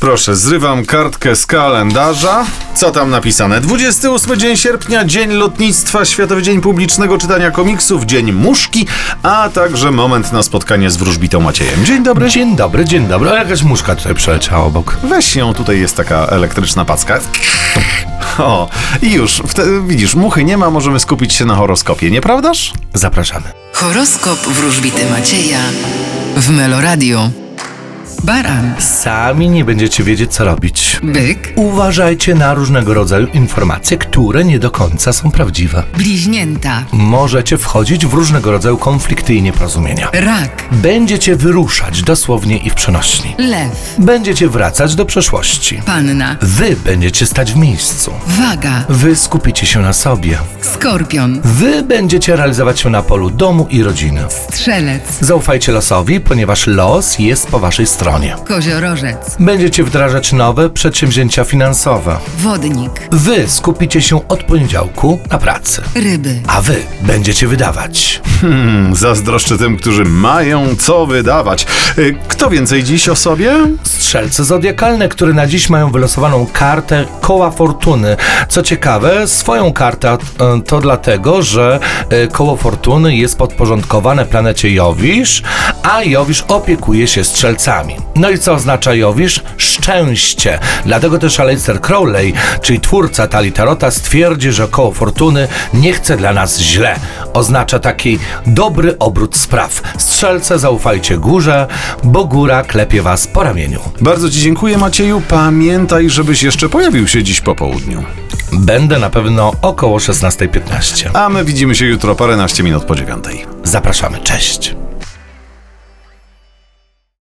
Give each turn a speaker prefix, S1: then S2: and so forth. S1: Proszę, zrywam kartkę z kalendarza. Co tam napisane? 28 dzień sierpnia, Dzień Lotnictwa, Światowy Dzień Publicznego Czytania Komiksów, Dzień Muszki, a także moment na spotkanie z wróżbitą Maciejem. Dzień dobry.
S2: Dzień dobry, dzień dobry. O, jakaś muszka tutaj przeleciała obok.
S1: Weź ją, tutaj jest taka elektryczna packa. O, i już, wtedy, widzisz, muchy nie ma, możemy skupić się na horoskopie, nieprawdaż?
S2: Zapraszamy.
S3: Horoskop wróżbity Macieja w Meloradio. Baran,
S2: Sami nie będziecie wiedzieć, co robić.
S3: byk,
S2: Uważajcie na różnego rodzaju informacje, które nie do końca są prawdziwe.
S3: bliźnięta,
S2: Możecie wchodzić w różnego rodzaju konflikty i nieporozumienia.
S3: rak,
S2: Będziecie wyruszać dosłownie i w przenośni.
S3: lew,
S2: Będziecie wracać do przeszłości.
S3: panna,
S2: Wy będziecie stać w miejscu.
S3: waga,
S2: Wy skupicie się na sobie.
S3: skorpion,
S2: Wy będziecie realizować się na polu domu i rodziny.
S3: strzelec,
S2: Zaufajcie losowi, ponieważ los jest po waszej stronie.
S3: koziorożec,
S2: Będziecie wdrażać nowe przedsięwzięcia finansowe.
S3: wodnik,
S2: Wy skupicie się od poniedziałku na pracy,
S3: ryby,
S2: a wy będziecie wydawać.
S1: Mm, Zazdroszczę tym, którzy mają co wydawać. Y, Kto więcej dziś o sobie?
S2: Strzelce zodiakalne, które na dziś mają wylosowaną kartę koła fortuny. Co ciekawe, swoją kartę e, to dlatego, że e, koło fortuny jest podporządkowane planecie Jowisz, a Jowisz opiekuje się strzelcami. No i co oznacza Jowisz? Szczęście. Dlatego też Aleister Crowley, czyli twórca Tali Tarota, stwierdzi, że koło fortuny nie chce dla nas źle. Oznacza taki dobry obrót spraw. Strzelce zaufajcie górze, bo góra klepie was po ramieniu.
S1: Bardzo Ci dziękuję, Macieju. Pamiętaj, żebyś jeszcze pojawił się dziś po południu.
S2: Będę na pewno około 16.15.
S1: A my widzimy się jutro paręnaście minut po dziewiątej.
S2: Zapraszamy, cześć!